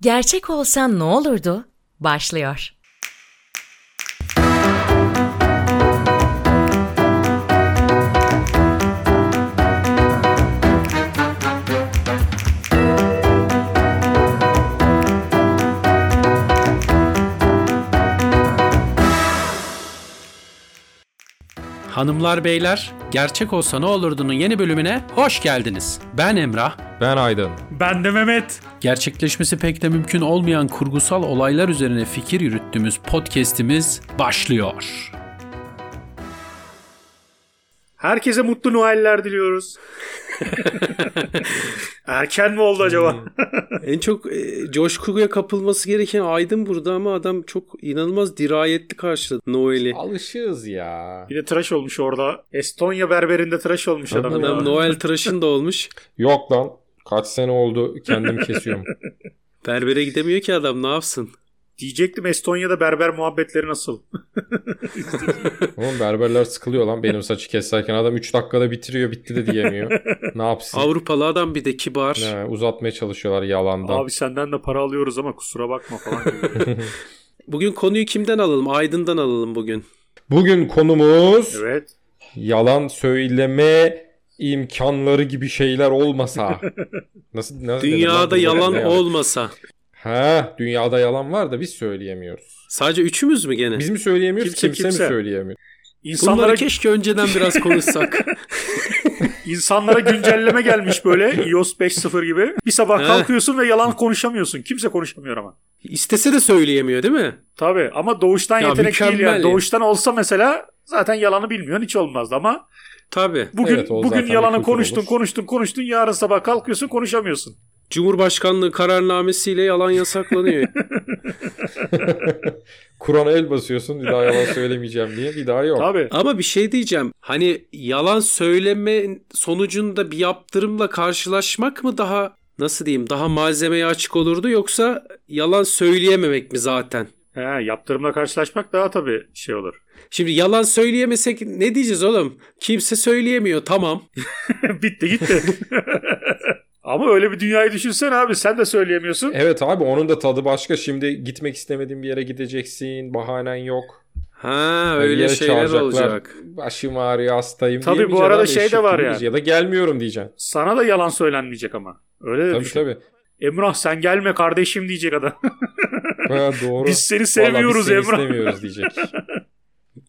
Gerçek olsan ne olurdu? Başlıyor. Hanımlar beyler, Gerçek Olsa Ne Olurdu'nun yeni bölümüne hoş geldiniz. Ben Emrah. Ben Aydın. Ben de Mehmet. Gerçekleşmesi pek de mümkün olmayan kurgusal olaylar üzerine fikir yürüttüğümüz podcast'imiz başlıyor. Herkese mutlu Noeller diliyoruz. Erken mi oldu acaba? Hmm. En çok e, coşkuya kapılması gereken Aydın burada ama adam çok inanılmaz dirayetli karşıladı Noel'i. Alışığız ya. bir de tıraş olmuş orada. Estonya berberinde tıraş olmuş adam. Adam Noel tıraşın da olmuş. Yok lan. Kaç sene oldu kendim kesiyorum. Berbere gidemiyor ki adam ne yapsın? Diyecektim Estonya'da berber muhabbetleri nasıl? Oğlum berberler sıkılıyor lan benim saçı keserken. Adam 3 dakikada bitiriyor bitti de diyemiyor. Ne yapsın? Avrupalı adam bir de kibar. Ne, uzatmaya çalışıyorlar yalandan. Abi senden de para alıyoruz ama kusura bakma falan gibi. Bugün konuyu kimden alalım? Aydın'dan alalım bugün. Bugün konumuz evet. yalan söyleme imkanları gibi şeyler olmasa. Nasıl? nasıl Dünyada dedim lan? yalan Ne yani? olmasa. Ha, dünyada yalan var da biz söyleyemiyoruz. Sadece üçümüz mü gene? Biz mi söyleyemiyoruz? Kimse- kimse, kimse. mi söyleyemiyor? İnsanlara, Bunları keşke önceden biraz konuşsak. insanlara güncelleme gelmiş böyle iOS 5.0 gibi. Bir sabah He. kalkıyorsun ve yalan konuşamıyorsun. Kimse konuşamıyor ama. İstese de söyleyemiyor değil mi? Tabii ama doğuştan Ya yetenek değil mükemmel yani. ya. Doğuştan olsa mesela zaten yalanı bilmiyorsun hiç olmazdı ama Tabii. Bugün Evet, o bugün zaten bir yalanı kültür konuştun, olur. konuştun, konuştun. Yarın sabah kalkıyorsun, konuşamıyorsun. Cumhurbaşkanlığı kararnamesiyle yalan yasaklanıyor. Kur'an'a el basıyorsun bir daha yalan söylemeyeceğim diye bir daha yok. Tabii. Ama bir şey diyeceğim. Hani yalan söyleme sonucunda bir yaptırımla karşılaşmak mı daha nasıl diyeyim daha malzemeye açık olurdu yoksa yalan söyleyememek mi zaten? He, yaptırımla karşılaşmak daha tabii şey olur. Şimdi yalan söyleyemesek ne diyeceğiz oğlum? Kimse söyleyemiyor tamam. Bitti gitti. Ama öyle bir dünyayı düşünsen abi sen de söyleyemiyorsun. Evet abi onun da tadı başka. Şimdi gitmek istemediğin bir yere gideceksin. Bahanen yok. Ha öyle Yere şeyler çağıracaklar. olacak. Başım ağrıyor hastayım Tabii bu diyemeyeceksin arada abi, şey de eşek var gibiyiz. ya. Ya da gelmiyorum diyeceksin. Sana da yalan söylenmeyecek ama. Öyle de Tabii düşün. tabii. Emrah sen gelme kardeşim diyecek adam. Ha, doğru. biz seni Vallahi sevmiyoruz biz seni Emrah. istemiyoruz diyecek.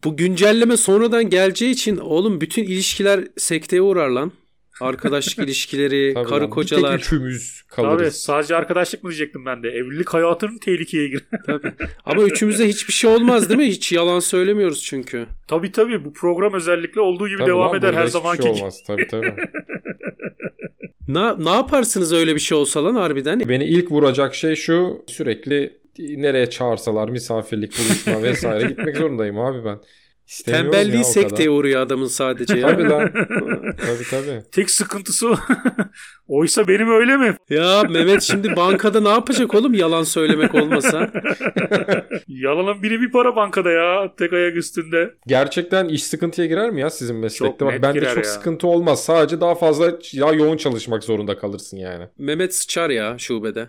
Bu güncelleme sonradan geleceği için oğlum bütün ilişkiler sekteye uğrar lan. Arkadaşlık ilişkileri, Tabii lan. karı Bir tek kocalar. üçümüz Tabii kalırız. sadece arkadaşlık mı diyecektim ben de. Evlilik hayatın tehlikeye gir. Ama üçümüzde hiçbir şey olmaz değil mi? Hiç yalan söylemiyoruz çünkü. tabii tabii bu program özellikle olduğu gibi Tabii devam lan, eder böyle her hiçbir şey zamanki gibi. olmaz. Tabii tabii. Na, ne yaparsınız öyle bir şey olsa lan harbiden? Beni ilk vuracak şey şu sürekli nereye çağırsalar misafirlik buluşma vesaire gitmek zorundayım abi ben. İstemiyorum ya Tembelliği o sekteye kadar. uğruyor adamın sadece ya. Tabii lan. tabii tabii. Tek sıkıntısı o. oysa benim öyle mi? ya Mehmet şimdi bankada ne yapacak oğlum yalan söylemek olmasa? Yalanın biri bir para bankada ya. Tek ayak üstünde. Gerçekten iş sıkıntıya girer mi ya sizin meslekte? Çok net Bak bende girer çok ya. sıkıntı olmaz. Sadece daha fazla daha yoğun çalışmak zorunda kalırsın yani. Mehmet sıçar ya şubede.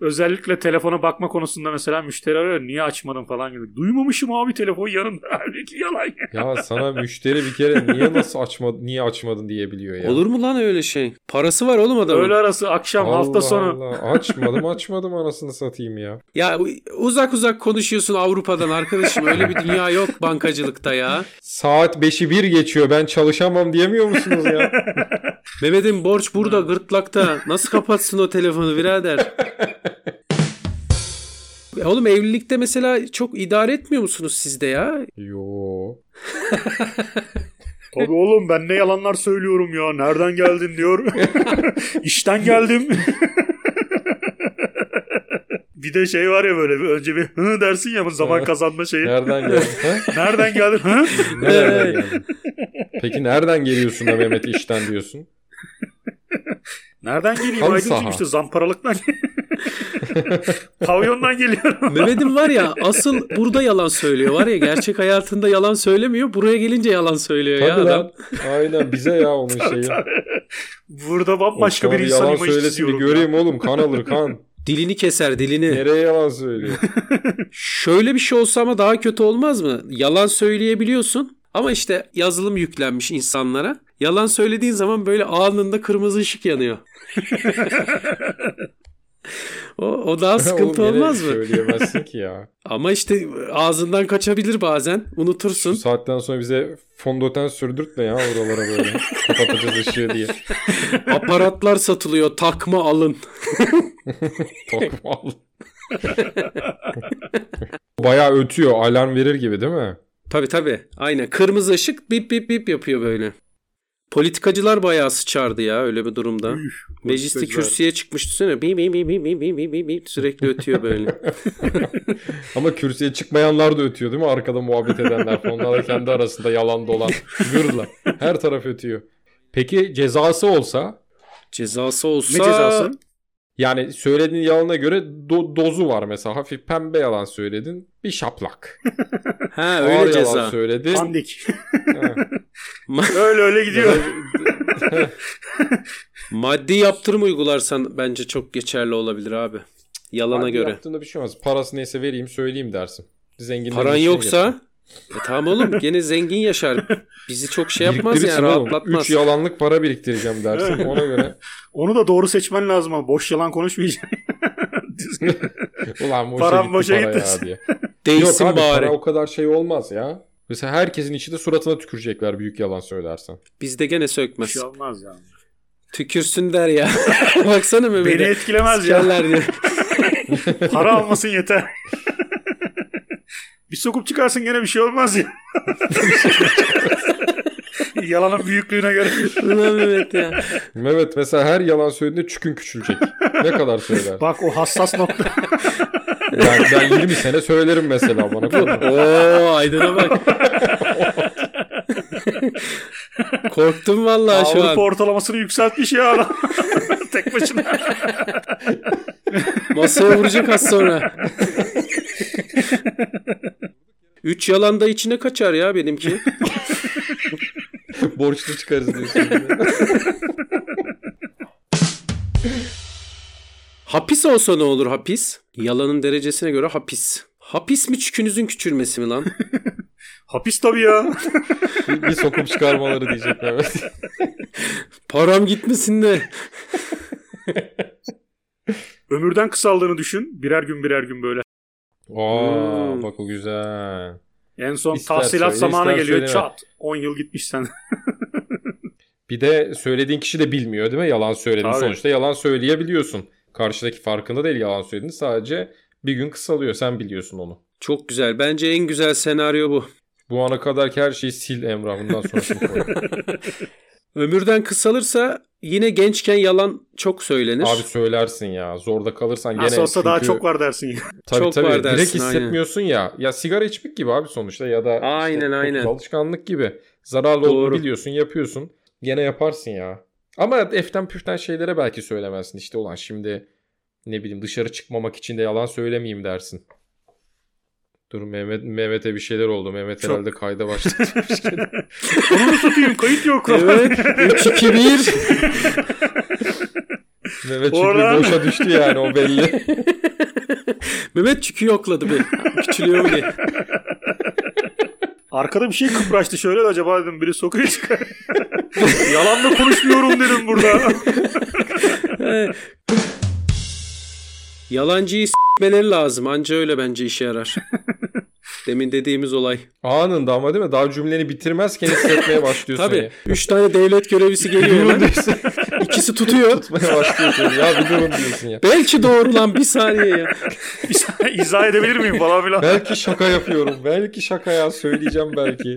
Özellikle telefona bakma konusunda mesela müşteri arıyor. Niye açmadın falan gibi. Duymamışım abi telefon yanında. Halbuki yalan ya. Ya sana müşteri bir kere niye nasıl açma niye açmadın diyebiliyor ya. Olur mu lan öyle şey? Parası var oğlum adamın. Öğle arası akşam Allah hafta sonu. Allah. Açmadım açmadım anasını satayım ya. Ya u- uzak uzak konuşuyorsun Avrupa'dan arkadaşım. Öyle bir dünya yok bankacılıkta ya. Saat 5'i 1 geçiyor ben çalışamam diyemiyor musunuz ya? Mehmet'in borç burada gırtlakta. Nasıl kapatsın o telefonu birader? Ya Oğlum evlilikte mesela çok idare etmiyor musunuz sizde ya? Yo. Tabii oğlum ben ne yalanlar söylüyorum ya. Nereden geldin diyor. İşten geldim. bir de şey var ya böyle bir önce bir hı dersin ya bu zaman Evet. kazanma şeyi. Nereden geldin? ha? Nereden geldin? Hı? Nereden geldin? Peki nereden geliyorsun da Mehmet işten diyorsun? Nereden geleyim? Halı Aydın'cım saha. işte zamparalıktan. Pavyondan geliyorum. Mehmet'im var ya asıl burada yalan söylüyor var ya gerçek hayatında yalan söylemiyor buraya gelince yalan söylüyor Şey ya Tabii adam. lan. Aynen bize ya onun şeyi. Burada bambaşka Oğlum bir sana insan yalan imajı söylesin bir çiziyorum. göreyim oğlum kan alır kan. Dilini keser dilini. Nereye yalan söylüyor? Şöyle bir şey olsa ama daha kötü olmaz mı? Yalan söyleyebiliyorsun ama işte yazılım yüklenmiş insanlara. Yalan söylediğin zaman böyle anında kırmızı ışık yanıyor. o, o daha sıkıntı Oğlum, nereye olmaz mı? Söyleyemezsin ki ya. Ama işte ağzından kaçabilir bazen. Bu Unutursun. saatten sonra bize fondöten sürdürtme ya oralara böyle. Kapatacağız ışığı diye. Aparatlar satılıyor. Takma alın. Tokmal. Bayağı ötüyor. Alarm verir gibi değil mi? Tabii tabii. Aynen. Kırmızı ışık bip bip bip yapıyor böyle. Politikacılar bayağı sıçardı ya öyle bir durumda. Mecliste politikacılar. kürsüye çıkmış düşünsene. Bip bip bip bip bip bip bip bip bip sürekli ötüyor böyle. Ama kürsüye çıkmayanlar da ötüyor değil mi? Arkada muhabbet edenler falan. Onlar da kendi arasında yalan dolan. Gırla. Her taraf ötüyor. Peki cezası olsa Cezası olsa... Ne cezası? yani söylediğin yalana göre do- dozu var mesela. Hafif pembe yalan söyledin. Bir şaplak. Ha Ağır öyle yalan ceza. söyledin. Pandik. Ha. öyle öyle gidiyor. Maddi yaptırım uygularsan bence çok geçerli olabilir abi. Yalana Hadi göre. Yaptığında bir şey olmaz. Parası neyse vereyim söyleyeyim dersin. Zengin Paran yoksa... E tamam oğlum gene zengin yaşar. Bizi çok şey yapmaz yani rahatlatmaz. 3 yalanlık para biriktireceğim dersin. Ona göre Onu da doğru seçmen lazım ama boş yalan konuşmayacaksın. Düzgün. ulan boşa Param gitti boşa para ya gitti. diye. Yok Değilsin abi bari. para o kadar şey olmaz ya. Mesela herkesin içi de suratına tükürecekler büyük yalan söylersen. Bizde gene Bir sökmez. şey olmaz ya. Tükürsün der ya. Baksana Beni Mehmet'e. etkilemez ya. Sikerler diye. Para almasın yeter. bir sokup çıkarsın gene bir şey olmaz ya. Yalanın büyüklüğüne göre. Ulan Mehmet ya. Mehmet mesela her yalan söylediğinde çükün küçülecek. ne kadar söyler? Bak o hassas nokta. ben, ben 20 sene söylerim mesela bana. bunu. Oo Aydın'a bak. Korktum vallahi şu Avrupa an. ortalamasını yükseltmiş ya adam. Tek başına. Masaya vuracak az sonra. Üç yalan da içine kaçar ya benimki. Borçlu çıkarız diyorsun. Hapis olsa ne olur hapis? Yalanın derecesine göre hapis. Hapis mi çükünüzün küçülmesi mi lan? Hapis tabii ya. bir, bir sokup çıkarmaları diyecek Mehmet. Param gitmesin de. Ömürden kısaldığını düşün. Birer gün birer gün böyle. Aa, Hmm. bak o güzel. En son İster tahsilat söyle, zamanı ister geliyor. söyleme. Çat. 10 yıl gitmiş sen. Bir de söylediğin kişi de bilmiyor değil mi? Yalan söylediğin Tabii. sonuçta yalan söyleyebiliyorsun. Karşıdaki farkında değil yalan söylediğin sadece bir gün kısalıyor sen biliyorsun onu. Çok güzel. Bence en güzel senaryo bu. Bu ana kadarki her şeyi sil Emrah bundan sonrasını koy. Ömürden kısalırsa yine gençken yalan çok söylenir. Abi söylersin ya zorda kalırsan gene. Nasıl olsa daha çünkü- çok var dersin ya. Tabii, Çok tabii. var dersin, Direkt aynen. hissetmiyorsun ya. Ya sigara içmek gibi abi sonuçta ya da Aynen, işte aynen. kokusu alışkanlık gibi. Zararlı olduğunu Doğru. biliyorsun yapıyorsun. Gene yaparsın ya. Ama eften püften şeylere belki söylemezsin. İşte ulan şimdi ne bileyim dışarı çıkmamak için de yalan söylemeyeyim dersin. Dur Mehmet Mehmet'e bir şeyler oldu. Mehmet Çok- herhalde kayda başladı. Bunu satayım kayıt yok. Evet. 3 2 1. Mehmet çünkü Oradan- boşa düştü yani o belli. Mehmet çükü yokladı bir. Küçülüyor mu diye. Arkada bir şey kıpraştı şöyle de acaba dedim biri sokuyor çıkar. Yalanla konuşmuyorum dedim burada. Yalancıyı s**meleri lazım. Anca öyle bence işe yarar. Demin dediğimiz olay. Anında ama değil mi? Daha cümleni bitirmezken hissetmeye başlıyorsun. Tabii. ya. 3 tane devlet görevlisi geliyor hemen. İkisi tutuyor. Tutmaya başlıyorsun. Ya bir durun diyorsun ya. Belki doğru lan bir saniye ya. İzah- İzah edebilir miyim falan filan. Belki şaka yapıyorum. Belki şaka ya söyleyeceğim belki.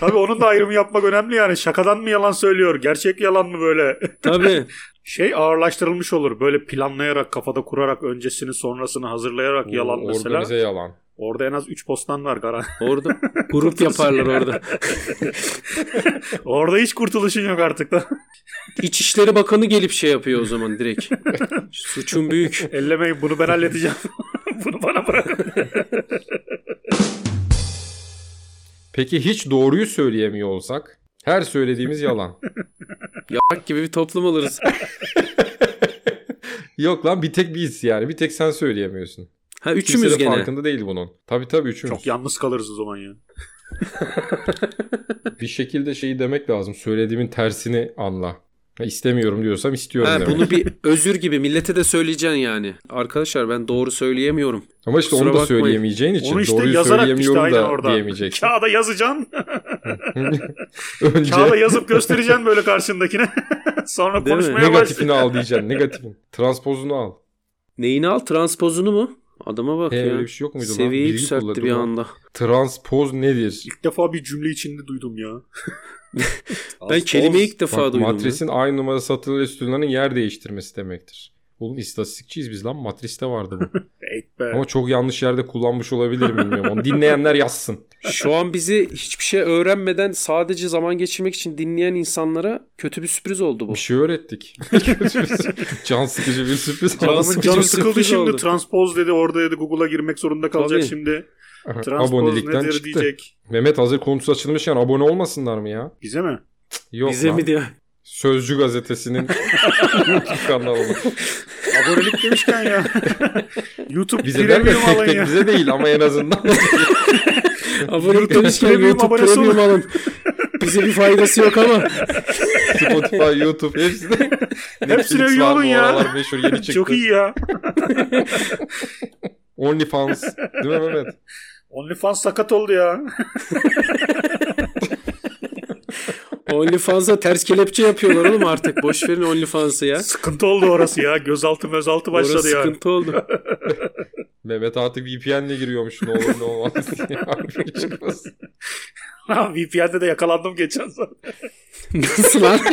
Tabii onun da ayrımı yapmak önemli yani. Şakadan mı yalan söylüyor? Gerçek yalan mı böyle? Tabii. Şey ağırlaştırılmış olur. Böyle planlayarak, kafada kurarak, öncesini sonrasını hazırlayarak yalan O- mesela. Ee, Organize yalan. Orada en az 3 postan var garan. Orada grup yaparlar orada. Orada hiç kurtuluşun yok artık da. İçişleri Bakanı gelip şey yapıyor o zaman direkt. Suçun büyük. Ellemeyin bunu ben halledeceğim. bunu bana bırakın. Peki hiç doğruyu söyleyemiyor olsak? Her söylediğimiz yalan. Bak gibi bir toplum oluruz. Yok lan bir tek biz yani. Bir tek sen söyleyemiyorsun. Ha Kimse üçümüz de gene. farkında değil bunun. Tabii tabii üçümüz. Çok yalnız kalırız o zaman ya. Bir şekilde şeyi demek lazım. Söylediğimin tersini anla. Ha, İstemiyorum diyorsam istiyorum Ha, demek. bunu bir özür gibi millete de söyleyeceksin yani. Arkadaşlar ben doğru söyleyemiyorum. Ama işte kusura onu da bakmayın. söyleyemeyeceğin için Onu işte doğruyu yazarak işte söyleyemiyorum aynen da orada. diyemeyeceksin. Kağıda yazacaksın. Önce Kağıda yazıp göstereceksin böyle karşındakine. Sonra Değil mi? konuşmaya başlayacaksın. negatifini al diyeceksin. Negatifini. Transpozunu al. Neyini al transpozunu mu? Adama bak He, ya. öyle bir şey yok muydu lan? Seviyeyi Birini yükseltti kullandı bir lan. anda. Transpoz nedir? İlk defa bir cümle içinde duydum ya. Ben kelimeyi ilk defa Bak, duydum. ya. matrisin aynı numara satırlı sütunlarının yer değiştirmesi demektir. Oğlum istatistikçiyiz biz lan. Matriste vardı bu. Evet be. Ama çok yanlış yerde kullanmış olabilir bilmiyorum. Onu dinleyenler yazsın. Şu an bizi hiçbir şey öğrenmeden sadece zaman geçirmek için dinleyen insanlara kötü bir sürpriz oldu bu. Bir şey öğrettik. Can sıkıcı bir sürpriz. Can Ama sıkıcı Canım Sürpriz sıkıldı şimdi. oldu. Transpose dedi orada dedi Google'a girmek zorunda kalacak Tabii. şimdi. Transpose Abonelikten nedir çıktı. diyecek. Mehmet hazır konusu açılmışken abone olmasınlar mı ya? Bize mi? Yok Bize lan. mi diyor? Sözcü gazetesinin YouTube kanalına. Abonelik demişken ya. YouTube Bize derken premium alın tek tek ya. bize değil ama en azından. Abonelik demişken Premium YouTube abonesi premium olun. alın. Bize bir faydası yok ama. Spotify, YouTube hepsine. Hepsine Netflix üye var olun bu ya. aralar meşhur yeni çıktı. Çok iyi ya. OnlyFans. Değil mi Mehmet? OnlyFans sakat oldu ya. OnlyFans'a ters kelepçe yapıyorlar oğlum artık. Boş verin OnlyFans'ı ya. sıkıntı oldu orası ya. Gözaltı mözaltı başladı Orası ya. sıkıntı oldu. Mehmet artık VPN'le giriyormuş ne olur ne olmaz diye. Harbi çıkmasın. Ha, VPN'de de yakalandım geçen zaman. Nasıl lan?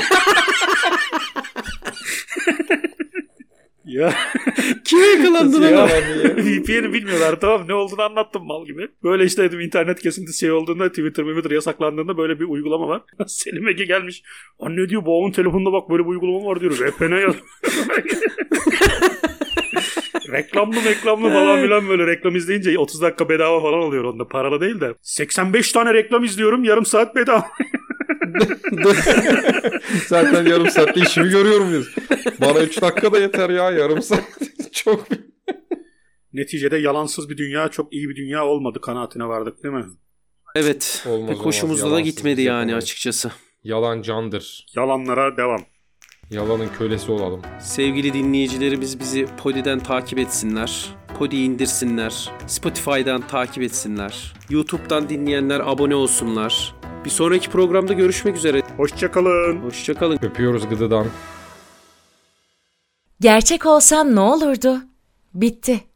Ya. Kime yakalandın Ya oğlum? lan diye. VPN'i bilmiyorlar tamam ne olduğunu anlattım mal gibi. Böyle işte dedim internet kesintisi şey olduğunda Twitter Twitter yasaklandığında böyle bir uygulama var. Selim Ege gelmiş. Anne diyor babamın telefonunda bak böyle bir uygulama var diyoruz. VPN yaz. reklamlı reklamlı falan filan böyle reklam izleyince 30 dakika bedava falan oluyor onda paralı değil de. 85 tane reklam izliyorum yarım saat bedava. Zaten yarım saatte işimi görüyorum diyoruz. Bana 3 dakika da yeter ya yarım saat. Çok Neticede yalansız bir dünya çok iyi bir dünya olmadı kanaatine vardık değil mi? Evet. Olmaz, pek olmaz. hoşumuzda da Yalansız gitmedi biz yani yapamayız. açıkçası. Yalan candır. Yalanlara devam. Yalanın kölesi olalım. Sevgili dinleyicilerimiz bizi Podi'den takip etsinler. Podi'yi indirsinler. Spotify'dan takip etsinler. YouTube'dan dinleyenler abone olsunlar. Bir sonraki programda görüşmek üzere. Hoşçakalın. Hoşçakalın. Öpüyoruz gıdıdan. Gerçek olsan ne olurdu? Bitti.